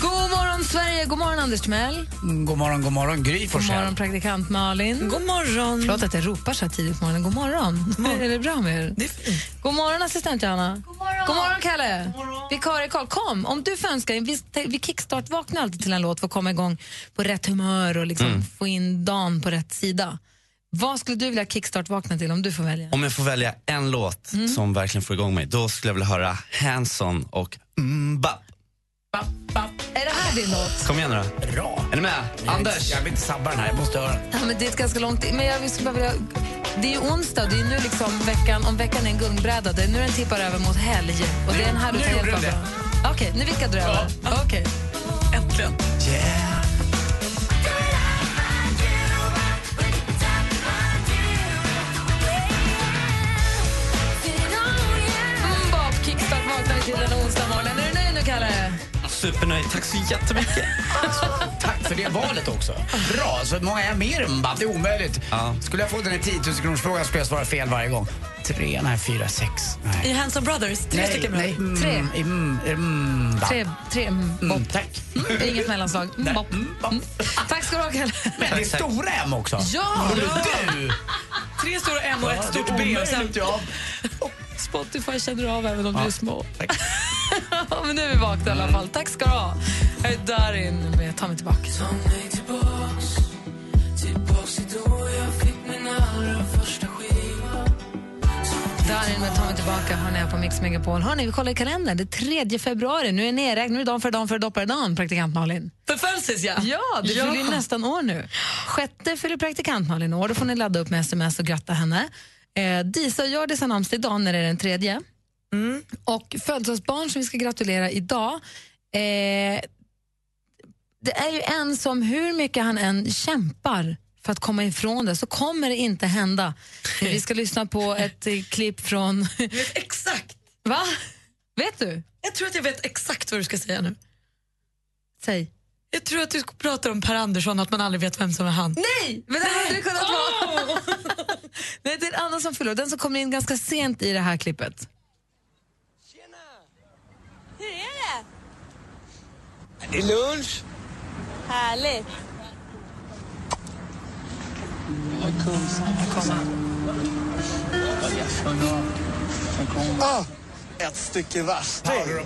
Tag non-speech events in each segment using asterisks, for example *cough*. God morgon, Sverige! God morgon, Anders Timell. Mm, God morgon, god morgon, Gry God Forssell. morgon, praktikant Malin. God morgon. Förlåt att jag ropar så här tidigt på morgonen. God morgon. *laughs* Är det bra med er? Det är fint. God morgon, assistent Johanna. God morgon, God morgon Kalle. Vikarie Karl. Kom, om du får önska. Vi, vi kickstart-vaknar alltid till en låt för att komma igång på rätt humör och liksom Mm. få in dagen på rätt sida. Vad skulle du vilja kickstart-vakna till om du får välja? Om jag får välja en låt Mm. som verkligen får igång mig, då skulle jag vilja höra Hanson och Mbap. Är det här din låt? Kom igen nu då. Bra. Är ni med? Anders? Jag vill inte sabba den här, jag måste höra. Ja, men det är ett ganska långt... Men jag skulle bara vilja... Det är ju onsdag, det är nu liksom veckan, om veckan är en gungbräda, det är nu den tippar över mot helg. Och det är den här du nu kan gjorde hjälpa den bra. Okej, nu vickade du över. Okej. Äntligen. Yeah. Mm, bak, kickstart, vaknar till den onsdag morgonen. Är du nöjd nu, Kalle? Supernöjd. Tack så jättemycket. Tack för det valet också. Bra, så många är mer än bara, det är omöjligt. Ja. Skulle jag få den i 10 000 kronors frågan skulle jag svara fel varje gång. Tre, *laughs* nej, fyra, sex. Nej, I Handsome Brothers, tre stycken bra. nej, mm, Tre. Mm, mm, va. Tre, tre mm, Mm, bopp. tack. Mm, inget mellanslag. Mm, bopp. Mm, va. Tack ska du ha, Kalle. Men det är stora M också. Ja! Du! Tre stora M och ett Det stort är B. Och sen omöjligt, ja. Spotify känner du av även om du är små. Tack. *laughs* men nu är vi vakna i alla fall. Tack ska du ha. Här är Darin med Ta mig tillbaka. Darin med Ta mig tillbaka hör ni här på Mix Megapol. Hörni, vi kollar i kalendern. Det är 3 februari. Nu är nerräknat. Nu är dagen för dagen för doppare dagen, praktikant Malin. förfölses jag. Ja, du fyller ju nästan år nu. Sjätte fyller praktikant Malin år. Då får ni ladda upp med sms och gratta henne. Eh, Disa och Hjördis har namnsdag idag när det är den tredje. Mm. Och födelsedagsbarn som vi ska gratulera idag. Eh, det är ju en som hur mycket han än kämpar för att komma ifrån det så kommer det inte hända. Vi ska lyssna på ett eh, klipp från... *laughs* Jag vet exakt. Va? Vet du? Jag tror att jag vet exakt vad du ska säga nu. Säg. Jag tror att du ska prata om Per Andersson, att man aldrig vet vem som är han. Oh! Nej, men det hade det kunnat vara. *laughs* Nej, det är en annan som förlorar. Den som kommer in ganska sent i det här klippet. Hur är det? Det är lunch. Härligt. Ah, ett stycke värsting. *laughs*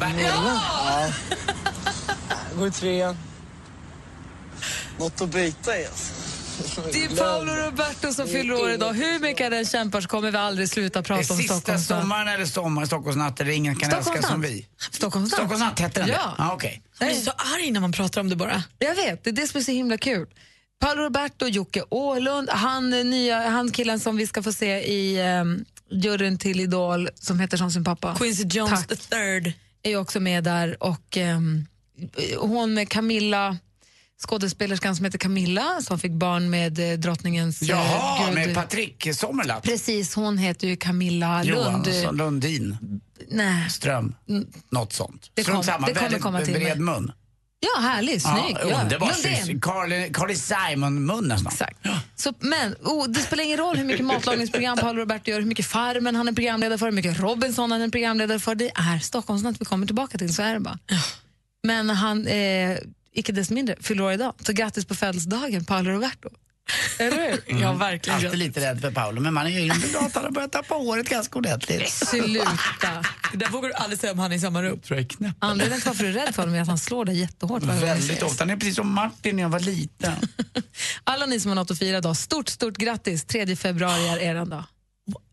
Går i trean. Något att bita i. Alltså. Det är Paolo Roberto som fyller år idag. Hur mycket den kämpar så kommer vi aldrig sluta Det är prata om sista Stockholmsnatt. sommaren eller sommar, Stockholmsnatten, där ingen kan älska som vi. Stockholmsnatt. Stockholmsnatt hette den Ja. det? Ah, okej. Jag blir så arg när man pratar om det bara. Jag vet, det är det som är så himla kul. Paolo Roberto, Jocke Åhlund, han, är nya, han killen som vi ska få se i um, juryn till Idol som heter som sin pappa. Quincy Jones Tack. the third. är ju också med där och ehm, hon med Camilla skådespelerskan som heter Camilla som fick barn med eh, drottningens eh, Jaha, gud. med Patrik Sommerlath. Precis, hon heter ju Camilla Lund. Johansson, Lundin, Nej. Ström, något sånt. Det Strunt kom- samma, det kommer väldigt komma till bred mig. mun. Ja, härlig, snygg. Ja, underbart. Lundén. Carly, Carly Simon-mun nästan. Exakt. Så, men oh, det spelar ingen roll hur mycket matlagningsprogram Paolo Roberto gör, hur mycket Farmen han är programledare för, hur mycket Robinson han är programledare för. Det är Stockholmsnatt vi kommer tillbaka till, så är det bara. Men han, eh, icke desto mindre, fyller år idag. Så grattis på födelsedagen, Paolo Roberto. Mm. Eller hur? Ja, verkligen. Alltid lite rädd för Paolo, men man är ju inte glad att han har börjat tappa håret ganska ordentligt. Sluta. Det där vågar du aldrig säga om han är i samma rum. Tror jag är knäpp. Anledningen till varför du är rädd för honom är att han slår dig jättehårt. varje gång du Väldigt ses. ofta. Han är precis som Martin när jag var liten. Alla ni som har något att fira idag, stort, stort grattis. 3 februari är er dag.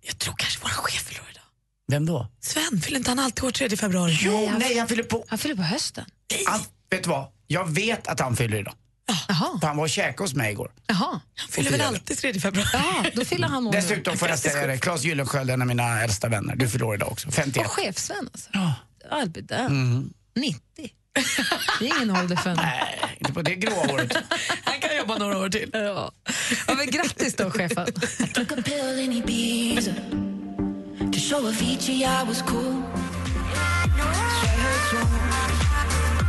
Jag tror kanske vår chef fyller år idag. Vem då? Sven, fyller inte han alltid år 3 februari? Jo, nej, han fyller på. Han fyller på hösten. Han, vet du vad? Jag vet att han fyller idag. Jaha. För han var och käkade hos mig igår. Jaha. Han fyller väl alltid 3 februari? Ja, då fyller han år nu. Dessutom får jag säga det, Claes Gyllensköld, en av mina äldsta vänner, du fyller år idag också. 51. Och chefsven alltså. Ja. Albin där. 90. Det är ingen ålder för henne. Mm. Nej, inte på det gråa håret. Han kan jobba några år till. Ja. Ja, men grattis då, chefen.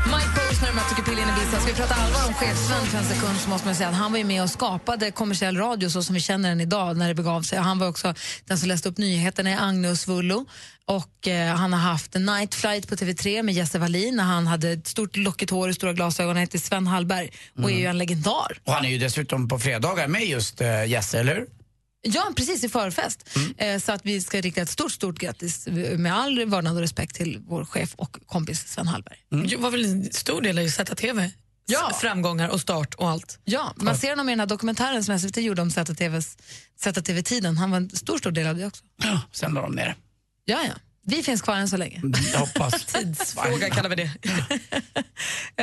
Mike Posner med Tycker Pillin i Ibiza. Ska vi prata allvar om chefslön för en sekund så måste man säga att han var ju med och skapade kommersiell radio så som vi känner den idag när det begav sig. Han var också den som läste upp nyheterna i Agnus Vullo och eh, han har haft Night Flight på TV3 med Jesse Wallin när han hade ett stort lockigt hår och stora glasögon. Han heter Sven Hallberg och är ju en legendar. Och han är ju dessutom på fredagar med just eh, Jesse, eller hur? Ja, precis i förfest. Eh, så att vi ska rikta ett stort, stort grattis eh, med all vördnad och respekt till vår chef och kompis Sven Hallberg. Det var väl en stor del av ju Zeta TV. Ja. S- Framgångar och start och allt. Ja, man ser honom i den här dokumentären som SVT gjorde om ZTVs ZTV-tiden. Han var en stor, stor del av det också. Ja, sen la de ner Ja, ja. Vi finns kvar än så länge. det. Jag *laughs* hoppas. Fråga kallar vi det. *laughs*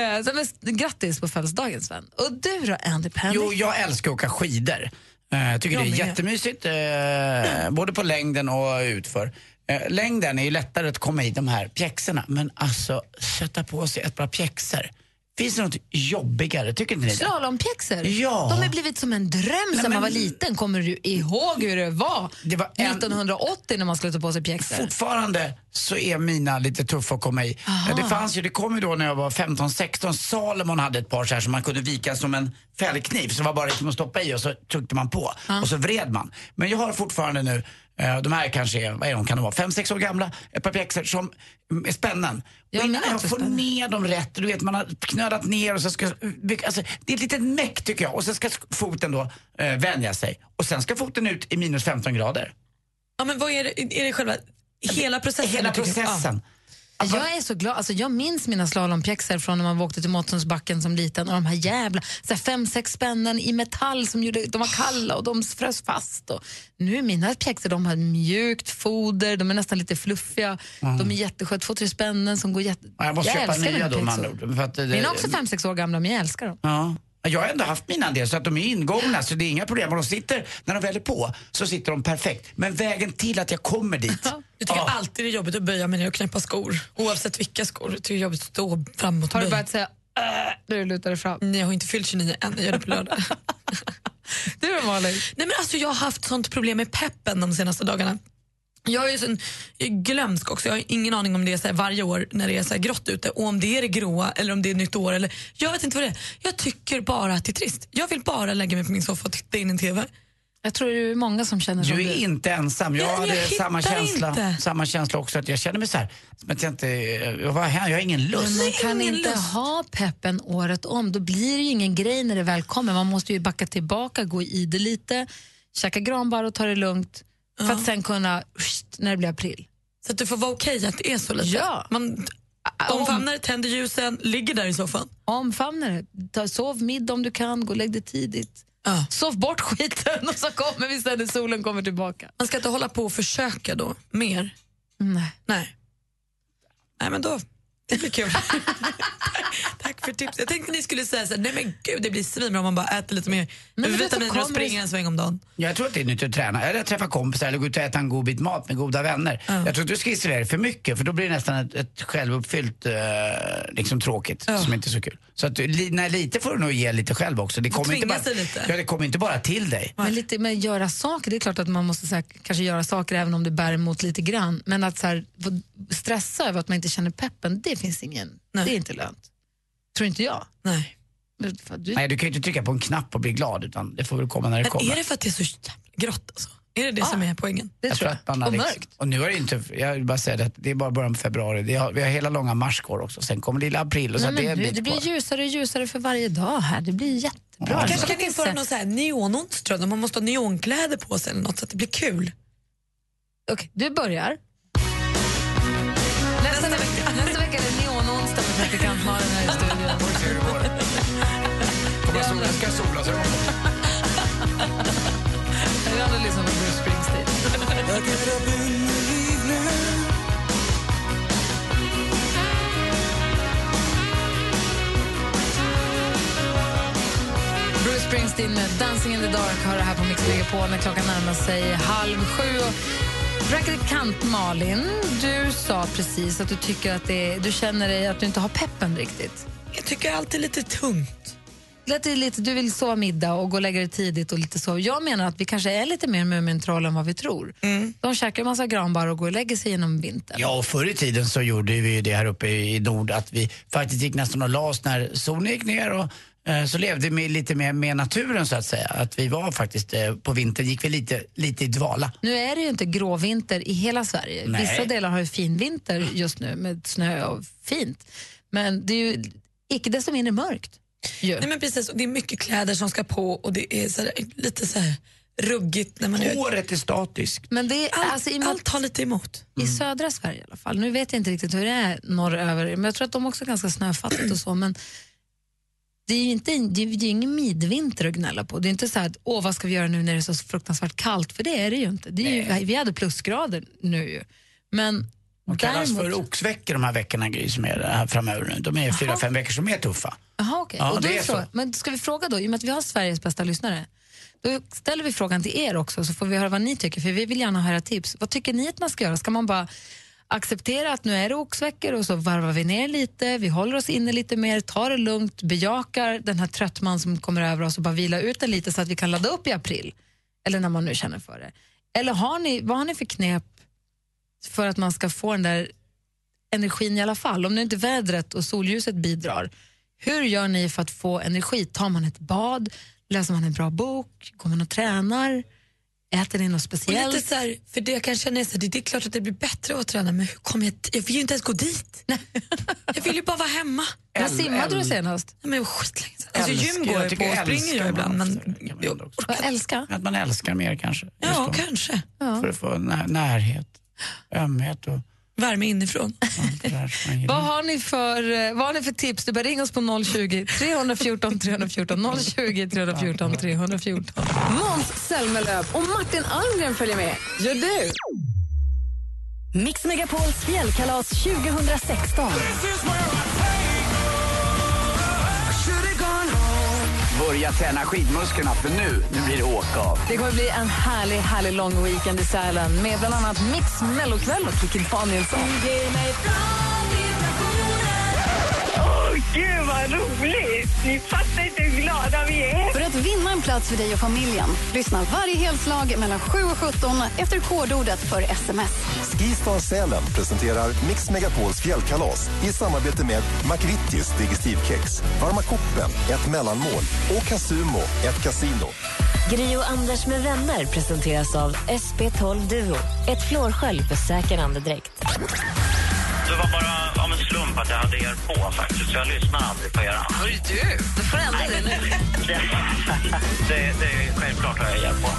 Eh, så, men, s- grattis på födelsedagen, Sven. Och du då, Andy Penny? Jo, jag älskar att åka skidor. Eh, Jag tycker Jag det är med. jättemysigt, eh, både på längden och utför. Eh, längden är ju lättare att komma i de här pjäxorna, men alltså sätta på sig ett par pjäxor. Finns det något jobbigare? Tycker inte ni det? Slalompjäxor? Ja. De har blivit som en dröm sedan men- man var liten. Kommer du ihåg hur det var, Det var en- 1980 när man skulle ta på sig pjäxor? Fortfarande så är mina lite tuffa att komma i. Det fanns ju, det kom ju då när jag var 15-16, Salomon hade ett par så här som man kunde vika som en fällkniv. Så det var bara liksom att stoppa i och så tryckte man på och så vred man. Men jag har fortfarande nu, eh, de här kanske är, vad är de, kan de vara, 5-6 år gamla, ett par pjäxor som mm, är spännen. Ja, och innan men jag också får spännen. ner dem rätt, du vet man har knödat ner och så ska, alltså, det är ett litet meck tycker jag. Och sen ska foten då eh, vänja sig. Och sen ska foten ut i minus 15 grader. Ja, men vad är det, är det själva, hela processen? Hela du tycker? processen. Jag är så glad. Alltså, jag minns mina slalompjäxor från när man åkte till Måttsundsbacken som liten. Och de här jävla så här fem, sex spännen i metall som gjorde, de var kalla och de frös fast. Och nu är mina pjäxor de har mjukt foder, de är nästan lite fluffiga. De är jättesköna, två, tre spännen som går jätte... Mm. Ja, Jag måste älskar köpa mina nya då med pjäxor. andra ord. För att det- Mina är också fem, sex år gamla, men jag älskar dem. Ja. Jag har ändå haft mina en del så att de är ingångna så det är inga problem. Och de sitter, när de väl är på så sitter de perfekt. Men vägen till att jag kommer dit. Jag tycker Ja. alltid det är jobbigt att böja mig ner och knäppa skor. Oavsett vilka skor. Jag tycker det är jobbigt att stå framåt Har du böj. börjat säga äh, när du lutar dig fram? Nej, jag har inte fyllt 29 än. Jag gör det *laughs* på lördag. Du då Malin? Nej, men alltså, jag har haft sånt problem med peppen de senaste dagarna. Jag är ju sån, jag är glömsk också. Jag har ingen aning om det är så här varje år när det är så här grått ute och om det är det gråa eller om det är nytt år. Eller, jag vet inte vad det är. Jag tycker bara att det är trist. Jag vill bara lägga mig på min soffa och titta in i en TV. Jag tror det är många som känner som Du du. är inte ensam. Jag Ja, men hade jag hittar samma känsla, inte. samma känsla också. att Jag kände mig så här, som att jag inte, jag var här, jag har ingen lust. Man kan ingen inte lust. ha peppen året om. Då blir det ju ingen grej när det väl kommer. Man måste ju backa tillbaka, gå i det lite, käka granbar och ta det lugnt för att sen kunna, "Psst", när det blir april. Så att du får vara okej att det är så lite. Ja. Man omfamnar det, tänder ljusen, ligger där i soffan. Omfamna det. Ta, sov middag om du kan, gå och lägg dig tidigt. Ja. Sov bort skiten och så kommer vi sen när solen kommer tillbaka. Man ska inte hålla på och försöka då, mer. Nej. Nej. Nej men då, det *laughs* blir kul. Tack för tipset. Jag tänkte ni skulle säga så här, nej men gud det blir svinbra om man bara äter lite mer men vet du, vitaminer och kommer det- springer en sväng om dagen. Jag tror att det är nyttigt att träna. Eller träffa kompisar eller gå ut och äta en god bit mat med goda vänner. Jag tror att du ska isolera dig för mycket för då blir det nästan ett, ett självuppfyllt eh, liksom tråkigt som inte är så kul. Så att du, li- när lite får du nog ge lite själv också. Det kommer, inte tvinga bara, sig lite. Ja, det kommer inte bara till dig. Men, lite, men göra saker, det är klart att man måste så här, kanske göra saker även om det bär emot lite grann. Men att så här, få stressa över att man inte känner peppen, det finns ingen, Nej. det är inte lönt. Tror inte jag. Nej. Men fan, Du, Nej, du kan ju inte trycka på en knapp och bli glad utan det får väl komma när det Men kommer. är det för att det är så jävla grått alltså? Är det det som är poängen? det Jag tror tror att man jag. har Och liksom- mörkt. Och nu är det inte, jag vill bara säga det, att det är bara början på februari. Det är, vi har hela långa mars kvar också. Sen kommer lilla april och så Nej, att det är men en du, bit det kvar. blir ljusare och ljusare för varje dag här. Det blir jättebra. Man kanske Så- kan införa någon så här neonons tror jag, där man måste ha neonkläder på sig eller något så att det blir kul. Okej, du börjar. Nästa, vecka, nästa vecka är det neononsdag med praktikantmalen här i studion. Kommer solen ska sola sig. Vi andra lyssnar på liksom Bruce Springsteen. Bruce Springsteen med Dancing in the dark har det här på Mix Megapol när klockan närmar sig halv sju. Och Praktikant Malin, du sa precis att du tycker att det, du känner dig att du inte har peppen riktigt. Jag tycker allt är lite tungt. Lät det lite, du vill sova middag och gå och lägga dig tidigt och lite så. Jag menar att vi kanske är lite mer Mumintroll än vad vi tror. De käkar en massa granbar och går och lägger sig genom vintern. Mm. Ja, och förr i tiden så gjorde vi ju det här uppe i nord att vi faktiskt gick nästan och la oss när solen gick ner och eh, så levde vi lite mer med naturen så att säga. Att vi var faktiskt, eh, på vintern gick vi lite, lite i dvala. Nu är det ju inte gråvinter i hela Sverige. Nej. Vissa delar har ju finvinter just nu med snö och fint. Men det är ju icke desto mindre mörkt. Ju. Nej, men precis, och det är mycket kläder som ska på och det är så här, lite så här ruggigt. När man är, Håret är statiskt. Men det är, allt, alltså, i, och med att- allt tar lite emot. Mm. i södra Sverige i alla fall. Nu vet jag inte riktigt hur det är norröver, men jag tror att de också är ganska snöfattigt och så. Men det är ju inte, det är ju ingen midvinter att gnälla på. Det är inte så här att, åh vad ska vi göra nu när det är så fruktansvärt kallt? För det är det ju inte. Det är ju, vi hade plusgrader nu ju. Men De kallas för däremot... oxveckor de här veckorna Gry, som är här framöver nu. De är fyra, fem veckor som är tuffa. Alltså, Jaha, okej. Ja, och då det är är så. så. Men ska vi fråga då, i och med att vi har Sveriges bästa lyssnare, då ställer vi frågan till er också så får vi höra vad ni tycker, för vi vill gärna höra tips. Vad tycker ni att man ska göra? Ska man bara acceptera att nu är det oxveckor och så varvar vi ner lite, vi håller oss inne lite mer, tar det lugnt, bejakar den här tröttman som kommer över oss och bara vila ut den lite så att vi kan ladda upp i april, eller när man nu känner för det. Eller har ni, vad har ni för knep för att man ska få den där energin i alla fall? Om nu inte vädret och solljuset bidrar, hur gör ni för att få energi? Tar man ett bad? Läser man en bra bok? Går man och tränar? Äter ni något Och speciellt? lite så här, för det jag kan känna är så här, det, det är klart att det blir bättre att träna men hur kommer jag, jag vill ju inte ens gå dit. *laughs* jag vill ju bara vara hemma. När L- simmade du L- senast? Nej, men skitlänge sedan. Alltså, gym Älskar- går jag jag på tycker och springer älskar jag ibland. man Men, ofta. jag, Vad älska? Att man älskar mer kanske. just ja, då. kanske. För att få när, närhet, ömhet och Värme inifrån. allt det där som man Vad gillar. har, ni för, eh, vad har ni för tips? Du bara ring oss på 020-314 314 020 314 314. Måns Zelmerlöw och Martin Almgren följer med. Gör du? Mix Megapols fjällkalas 2016. Börja träna skidmusklerna för nu, nu blir det åka av. Det kommer bli en härlig, härlig lång weekend i Sälen med bland annat Mix Mellokväll och Kikki Danielsson. Gud vad roligt! Ni fattar inte hur glada vi är. För att vinna en plats för dig och familjen, lyssna varje helslag mellan 7 och 17 efter kodordet för sms. Skistar Sälen presenterar Mix Megapols fjällkalas i samarbete med McVittys Digestivkex, Varma koppen, ett mellanmål och Casumo, ett kasino. Gri och Anders med vänner presenteras av SP12 Duo. Ett flårskölj för säker andedräkt. Det var bara av en slump att jag hade er på faktiskt, så jag lyssnar aldrig på er. Hörru du, du får ändra dig nu. Det, det är självklart har jag er på.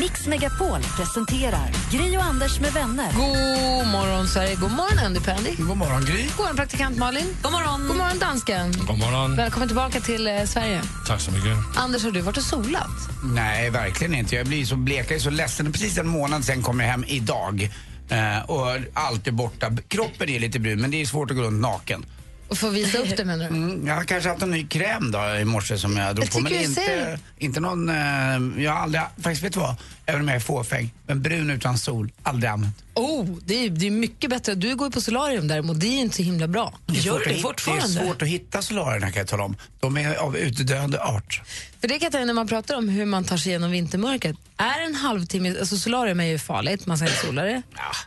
Mix Megapol presenterar Gri och Anders med vänner. God morgon, Sverige. God morgon, Andy Pandy. God morgon Gry. God morgon, praktikant Malin. God morgon. God morgon, dansken. God morgon. Välkommen tillbaka till eh, Sverige. Tack så mycket. Anders, har du varit och solat? Nej, verkligen inte. Jag blir så blek, jag är så ledsen. Precis en månad sen kom jag hem idag. Eh, och allt är borta. Kroppen är lite brun, men det är svårt att gå runt naken. Och få visa upp det, menar du? Mm, jag har kanske haft en ny kräm då i morse som jag drog Jag på. Men tycker jag inte, ser. inte någon, eh, jag har aldrig, faktiskt vet du vad, även om jag är fåfäng, men brun utan sol, aldrig använt. *laughs* Oh, det är, det är mycket bättre. Du går ju på solarium däremot. Det är ju inte så himla bra. är svårt att hitta- Det är svårt att hitta solarierna kan jag tala om. De är av utdöende art. För det kan jag tänka när man pratar om hur man tar sig igenom vintermörkret. Är en halvtimme, alltså solarium är ju farligt, man säger solare.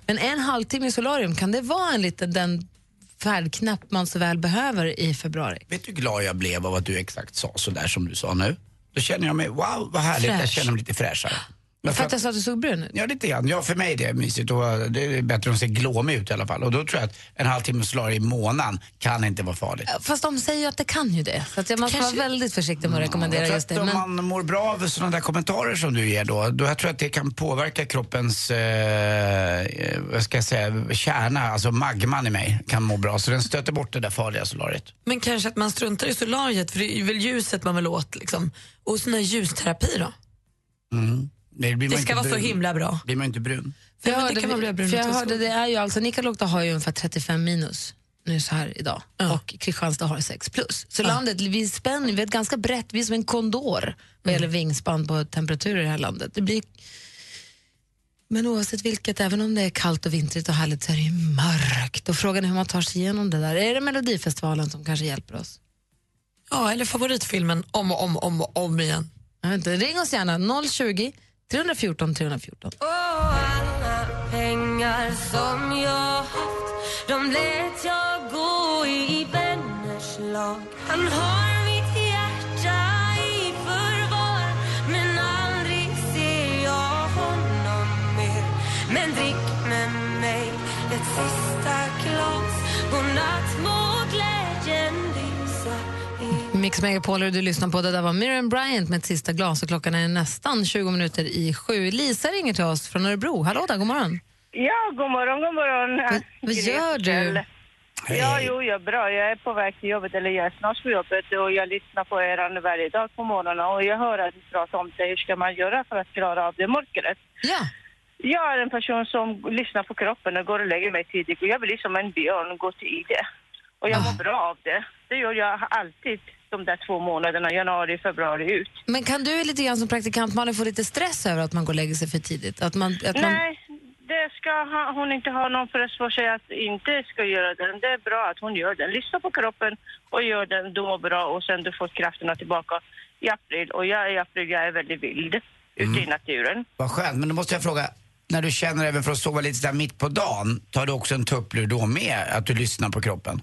Men en halvtimme i solarium, kan det vara en liten den färdknapp man så väl behöver i februari? Vet du hur glad jag blev av att du exakt sa sådär som du sa nu? Då känner jag mig, wow vad härligt, jag Fräsch. känner mig lite fräschare. För att jag sa att du såg brun ut? Ja, lite grann. Ja, för mig är det mysigt och eh, det är bättre att se glåmig ut i alla fall. Och då tror jag att en halvtimme solarium i månaden kan inte vara farligt. Fast de säger ju att det kan ju det. Så att man ska vara Kanske- väldigt försiktig med att rekommendera Jag tror just att det. om Men man mår bra av sådana där kommentarer som du ger då, då jag tror jag att det kan påverka kroppens, eh, eh, vad ska jag säga, kärna, alltså magman i mig kan må bra. Så den stöter bort det där farliga solariet. Men kanske att man struntar i solariet för det är väl ljuset man vill åt. Liksom. Och sån här ljusterapi då. Mm. Nej, blir man Det ska inte vara så brun. himla bra. blir man inte brun. för jag Nej, men hörde, det kan man bli brun för jag utan sol. hörde det är ju alltså, Nikkaluokta har ju ungefär 35 minus nu så här idag och Kristianstad har 6 plus. Så landet, vi spänner, vi är ett ganska brett, vi är Mm. som en kondor vad gäller vingspann på temperaturer i det här landet. Det blir Men oavsett vilket, även om det är kallt och vintrigt och härligt så är det ju mörkt. Och frågan är hur man tar sig igenom det där. Är det Melodifestivalen som kanske hjälper oss? Ja, eller favoritfilmen om och om och om, och om igen. Jag vet inte, ring oss gärna, 020 314 314. alla pengar som jag haft de lät jag gå i vänners lag Han har mitt hjärta i förvar men aldrig ser jag honom mer Men drick med mig ett sista glas Godnatt må glädjen lysa Mix Megapol och du lyssnar på det där var Miriam Bryant med ett sista glas och klockan är nästan 20 minuter i sju. Lisa ringer till oss från Örebro. Hallå där, god morgon. Ja, god morgon, god morgon. vad gör Gretel. du? Ja, jo, jag är bra. Jag är på väg till jobbet, eller jag är snart på jobbet och jag lyssnar på er varje dag på morgonen och jag hör att ni pratar om det. Hur ska man göra för att klara av det mörkret? Ja. Jag är en person som lyssnar på kroppen och går och lägger mig tidigt och jag vill som en björn gå till i det. Och jag mår bra av det. Det gör jag alltid de där två månaderna, januari, februari ut. Men kan du lite grann som praktikant Malin få lite stress över att man går och lägger sig för tidigt? Att man, att man... Nej, det ska ha, hon inte ha någon press på sig att inte ska göra den. Det är bra att hon gör den. Lyssna på kroppen och gör den, du mår bra och sen du får krafterna tillbaka i april. Och jag är i april, jag är väldigt vild ute i Mm. naturen. Vad skönt, men då måste jag fråga, när du känner även för att sova lite där mitt på dagen, tar du också en tupplur då med? Att du lyssnar på kroppen?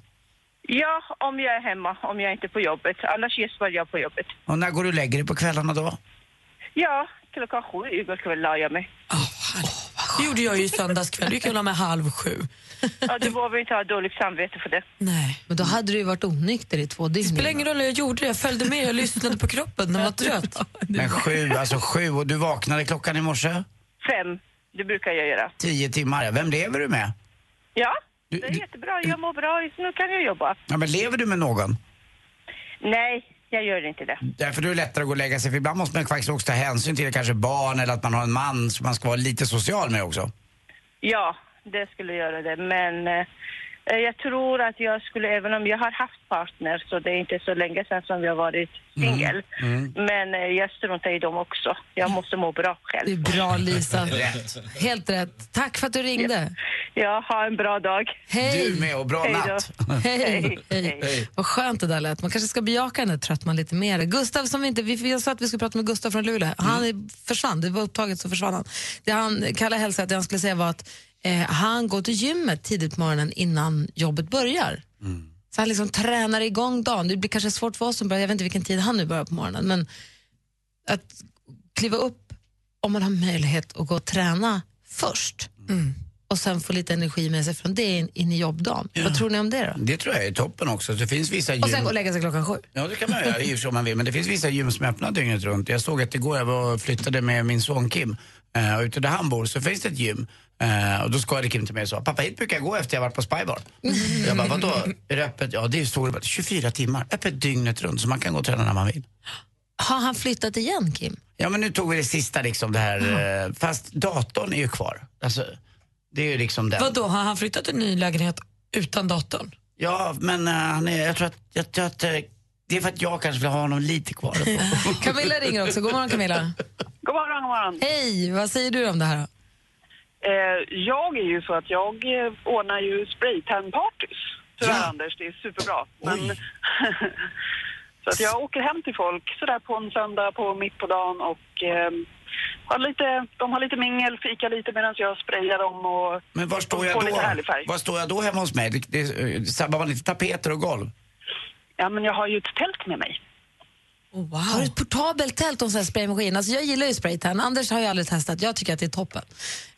Ja, om jag är hemma, om jag inte är på jobbet. Annars gäspar jag på jobbet. Och när går du och lägger dig på kvällarna då? Ja, klockan sju igår kväll la jag mig. Det gjorde jag ju i söndags kväll. Du gick jag och la mig halv sju. Ja, du behöver inte ha dåligt samvete för det. Nej. Men då hade du ju varit onykter i två dygn. spelar ingen roll hur jag gjorde det. Jag följde med, jag lyssnade på kroppen. Den var *laughs* trött. Men sju, alltså sju, och du vaknade klockan i morse? Fem, det brukar jag göra. Tio timmar, ja. Vem lever du med? Ja, det är jättebra. Jag mår bra, så nu kan jag jobba. Ja, men lever du med någon? Nej, jag gör inte det. Därför är det lättare att gå och lägga sig, för ibland måste man faktiskt också ta hänsyn till kanske barn eller att man har en man som man ska vara lite social med också. Ja, det skulle göra det. Men eh, jag tror att jag skulle, även om jag har haft partner, så det är inte så länge sedan som jag varit singel. Men eh, jag struntar i dem också. Jag måste må bra själv. Det är bra, Lisa. Helt rätt. Tack för att du ringde. Ja, ha en bra dag. Hej. Du med och bra Hej natt. då. Hej. Hej. Hej. Vad skönt det där lät. Man kanske ska bejaka den där tröttman lite mer. Gustav som vi inte, vi, jag sa att vi skulle prata med Gustav från Luleå. Han är- försvann, det var upptaget så försvann han. Det han Kalle hälsade att han skulle säga var att eh, han går till gymmet tidigt på morgonen innan jobbet börjar. Så han liksom tränar igång dagen. Det blir kanske svårt för oss som börjar, jag vet inte vilken tid han nu börjar på morgonen, men att kliva upp om man har möjlighet att gå och träna först och sen få lite energi med sig från det in, in i jobbdagen. Vad tror ni om det då? Det tror jag är toppen också. Det finns vissa gym... Och sen gå och lägga sig klockan sju. Ja, det kan man göra i och för sig om man vill. Men det finns vissa gym som är öppna dygnet runt. Jag såg att igår jag var och flyttade med min son Kim. Eh, och ute där han bor så finns det ett gym. Eh, och då skojade Kim till mig och sa, pappa hit brukar jag gå efter jag varit på Spybar. Jag bara, vadå? Är det öppet? Ja, det är stort. 24 timmar, öppet dygnet runt. Så man kan gå och träna när man vill. Har han flyttat igen, Kim? Ja, men nu tog vi det sista liksom det här. eh, Fast datorn är ju kvar. Alltså, det är ju liksom den. Vadå, har han flyttat till en ny lägenhet utan datorn? Ja, men eh, han är, jag tror att, jag tror att eh, det är för att jag kanske vill ha honom lite kvar. *laughs* Camilla ringer också. God morgon Camilla. God morgon, god morgon. Hej, vad säger du om det här då? Eh, jag är ju så att jag eh, ordnar ju spraytan-partys. Tyvärr Anders, det är superbra. Men, *laughs* så att jag åker hem till folk sådär på en söndag på mitt på dagen och eh, har lite, de har lite mingel, fika lite medan jag sprayar dem och Men var står de jag får lite härlig då? färg. Var står jag då hemma hos mig? Det, det, eh, sabbar man inte tapeter och golv? Ja, men jag har ju ett tält med mig. Oh, Har du ett portabelt tält och en sån här spraymaskin? Alltså jag gillar ju spraytan. Anders har ju aldrig testat. Jag tycker att det är toppen.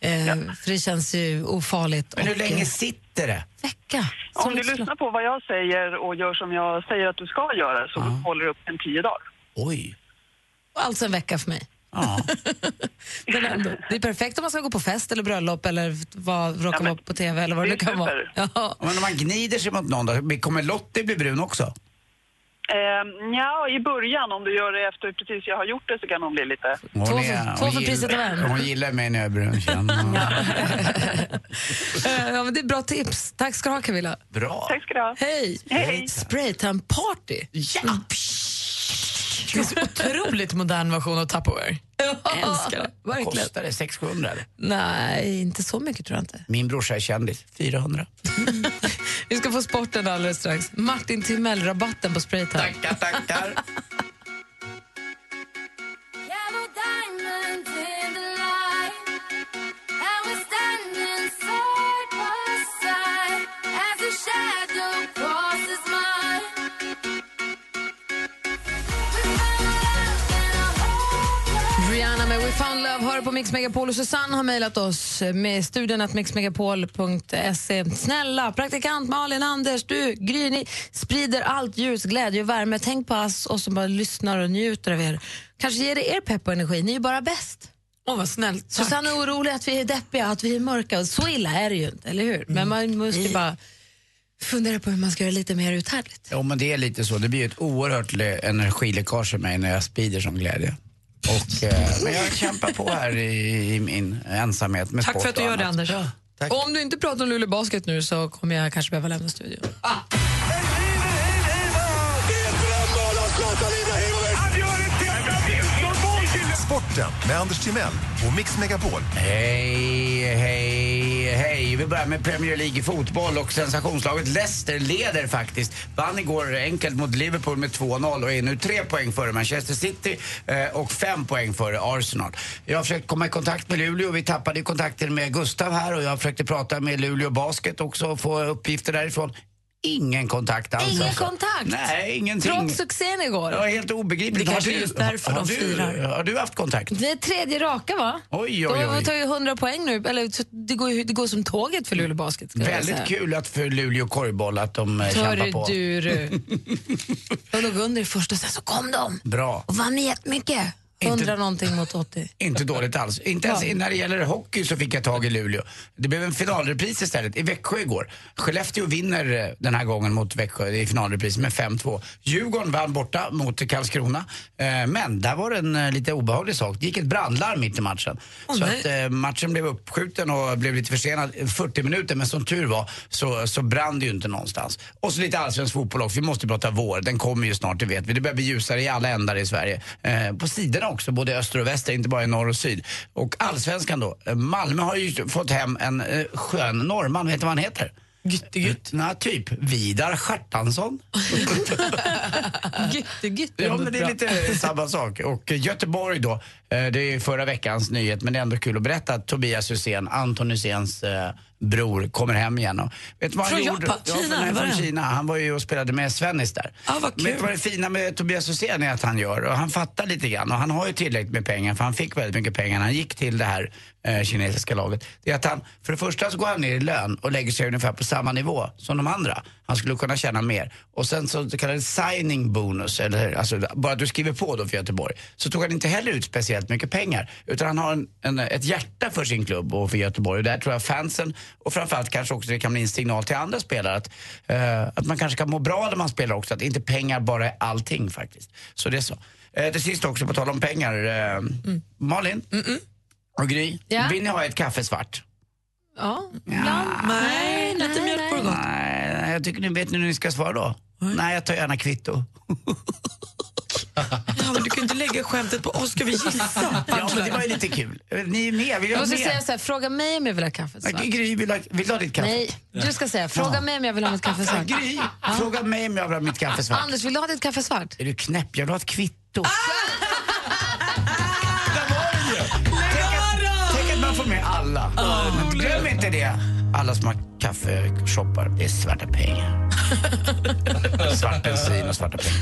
Eh, För det känns ju ofarligt. Men hur och, länge eh, sitter det? Vecka. Om du lyssnar på vad jag säger och gör som jag säger att du ska göra så håller du upp en tio dagar. Oj. Alltså en vecka för mig. Ja. Men ändå, det är perfekt om man ska gå på fest eller bröllop eller vad, råka vara på tv eller vad det nu kan vara. Ja. Men om man gnider sig mot någon då, kommer Lottie bli brun också? Eh, ja, i början om du gör det efter precis jag har gjort det så kan hon bli lite... Hon Två är- för- hon två för gill- priset av en. Hon gillar mig när jag är brun. känner hon. Eh, *laughs* ja, men det är bra tips. Tack ska du ha Camilla. Bra. Tack ska du ha. Hej! Hej. Mm. Spraytan party. Ja. Det är så otroligt modern version av Tupperware. Jag älskar det. Verkligen. Kostar det 600-700 eller? Nej, inte så mycket tror jag inte. Min brorsa är kändis. 400. *laughs* Vi ska få sporten alldeles strax. Martin Timell-rabatten på Spraytime. Tackar, tackar. Rihanna med We Found Love hör på Mix Megapol och Susanne har mejlat oss med studion att mixmegapol.se. Snälla, praktikant Malin, Anders, du, Gry, ni sprider allt ljus, glädje och värme. Tänk på oss och som bara lyssnar och njuter av er. Kanske ger det er pepp och energi, ni är bara bäst. Åh, vad snällt. Susanne är orolig att vi är deppiga, att vi är mörka. Så illa är det ju inte, eller hur? Men man måste ju bara fundera på hur man ska göra lite mer uthärdligt. Jo, men det är lite så. Det blir ju ett oerhört le- energiläckage i mig när jag sprider som glädje. Och, eh, men jag kämpar på här i, i min ensamhet med sport Tack för att du och gör det, annat. Anders. Och om du inte pratar om Luleå Basket nu så kommer jag kanske behöva lämna studion. Sporten med Anders Timell och Mix Megapol. Hej, hej, hej. Vi börjar med Premier League i fotboll och sensationslaget Leicester leder faktiskt. Vann igår enkelt mot Liverpool med 2-0 och är nu tre poäng före Manchester City eh, och fem poäng före Arsenal. Jag har försökt komma i kontakt med Luleå. Vi tappade ju kontakten med Gustav här och jag försökte prata med Luleå Basket också och få uppgifter därifrån. Ingen kontakt alls. Ingen alltså. kontakt? Nej, ingenting. Trots succén igår? Ja, helt obegripligt. Det Har kanske du- är just därför har de du- firar. Har du haft kontakt? Det är tredje raka va? Oj, oj, oj. De tar ju 100 poäng nu, eller t- det går, ju- det går som tåget för Luleå Basket. Ska jag Väldigt säga. kul att för Luleå korvboll att de eh, kämpar på. Hörru du, *laughs* du. De låg under i första, sen så kom de Bra. och vann med jättemycket. 100 någonting mot 80. Inte dåligt alls. Inte ens när det gäller hockey så fick jag tag i Luleå. Det blev en finalrepris istället i Växjö igår. Skellefteå vinner eh, den här gången mot Växjö i finalrepris med 5-2. Djurgården vann borta mot Karlskrona. Eh, Men där var det en eh, lite obehaglig sak. Det gick ett brandlarm mitt i matchen. Åh, så nej. att eh, matchen blev uppskjuten och blev lite försenad eh, 40 minuter. Men som tur var så, så brann det ju inte någonstans. Och så lite allsvensk fotboll också. Vi måste prata vår. Den kommer ju snart, det vet vi. Det börjar bli ljusare i alla ändar i Sverige. Eh, på sidorna också, både öster och väster, inte bara i norr och syd. Och allsvenskan då. Eh, Malmö har ju fått hem en eh, skön norrman, vet du vad han heter? Gyttegütt? *laughs* Nej, typ Vidar Stjärtansson. Gyttegütt. Ja, men det är lite samma sak. Och Göteborg då, eh, det är förra veckans nyhet, men det är ändå kul att berätta att Tobias Hysén, Anton Hyséns eh, bror, kommer hem igen. Och, vet du vad han Från gjorde? Japan? Ja, Kina, från, nej, var från det? Kina. Han var ju och spelade med Svennis där. Ah, vad kul. Vet du vad det fina med Tobias Hysén är att han gör? Och han fattar lite grann och han har ju tillräckligt med pengar för han fick väldigt mycket pengar när han gick till det här eh, kinesiska laget. Det är att han, för det första så går han ner i lön och lägger sig ungefär på samma nivå som de andra. Han skulle kunna tjäna mer. Och sen så så kallad signing bonus, eller alltså bara att du skriver på då för Göteborg, så tog han inte heller ut speciellt mycket pengar. Utan han har en, en, ett hjärta för sin klubb och för Göteborg. Och där tror jag fansen, och framförallt kanske också det kan bli en signal till andra spelare att, eh, att man kanske kan må bra när man spelar också. Att inte pengar bara är allting faktiskt. Så det är så. Eh, till sist också, på tal om pengar. Eh, Malin och Gry, Mm. Ja. vill ni ha ett kaffe svart? Ja, ibland. Nej, nej, lite mjölk vore gott. Nej, nej, jag tycker ni vet ni hur ni ska svara då. Nej, jag tar *laughs* gärna kvitto. Ja, men du kan inte lägga skämtet på oss. Ska vi gissa? Ja, men det var ju lite kul. Ni är med, vill Jag ha måste med? säga så här, fråga mig om jag vill ha kaffe svart. Gry, vill du ha, vill du ha ditt kaffe? Nej, du ska säga, Ja. fråga mig om jag vill ha mitt kaffe svart. Gry, fråga mig om jag vill ha mitt kaffe svart. Anders, vill du ha ditt kaffe svart? Är du knäpp? Jag vill ha ett kvitto. Där var den ju! Tänk att- Tänk att man får med alla. Men Glöm inte det. Alla som har kaffeshoppar, det är svarta pengar. Svart bensin och svarta pengar.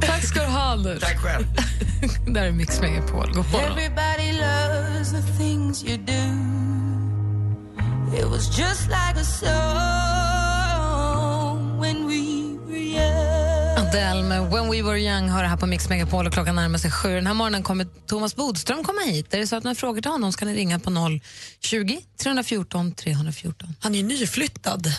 Tack ska du ha, Anders. Tack själv. Där är Mix Megapol. God morgon. Everybody loves the things you do. It was just like a song when we were young. Adele med When We Were Young hör här på Mix Megapol och klockan närmar sig sju. Den här morgonen kommer Thomas Bodström komma hit. Är det så att ni har frågor till honom ska ni ringa på 020 314 314. Han är ju nyflyttad.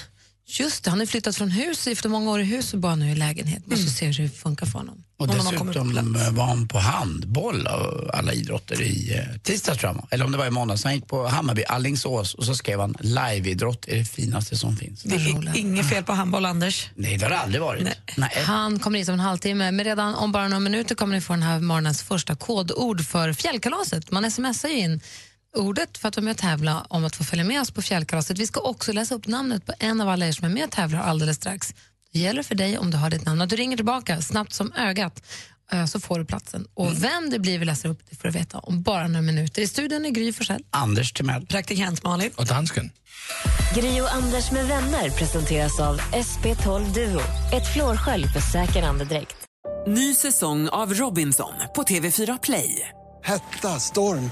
Just det, han har flyttat från hus efter många år i hus och bara nu i lägenhet. Vi ska se hur det funkar för honom. Och Om han kommer dessutom eh, var han på handboll av alla idrotter i eh, tisdags tror jag. han var. Eller om det var i måndags. Han gick på Hammarby, Allingsås och så skrev han liveidrott är det finaste som finns. Det är inget fel på handboll, Anders. Nej, det har det aldrig varit. Nej. Han kommer hit om en halvtimme, men redan om bara några minuter kommer ni få den här morgonens första kodord för fjällkalaset. Man smsar ju in ordet för att vara med och tävla om att få följa med oss på fjällkalaset. Vi ska också läsa upp namnet på en av alla er som är med och tävlar alldeles strax. Det gäller för dig om du har ditt namn att du ringer tillbaka snabbt som ögat eh, så får du platsen. Och vem det blir vi läser upp det får du veta om bara några minuter. I studion är Gry Forssell. Anders Timell. Praktikant Malin. Och dansken. Gri och Anders med vänner presenteras av SP12 Duo. Ett flårskölj för säker andedräkt. Ny säsong av Robinson på TV4 Play. Hetta, storm,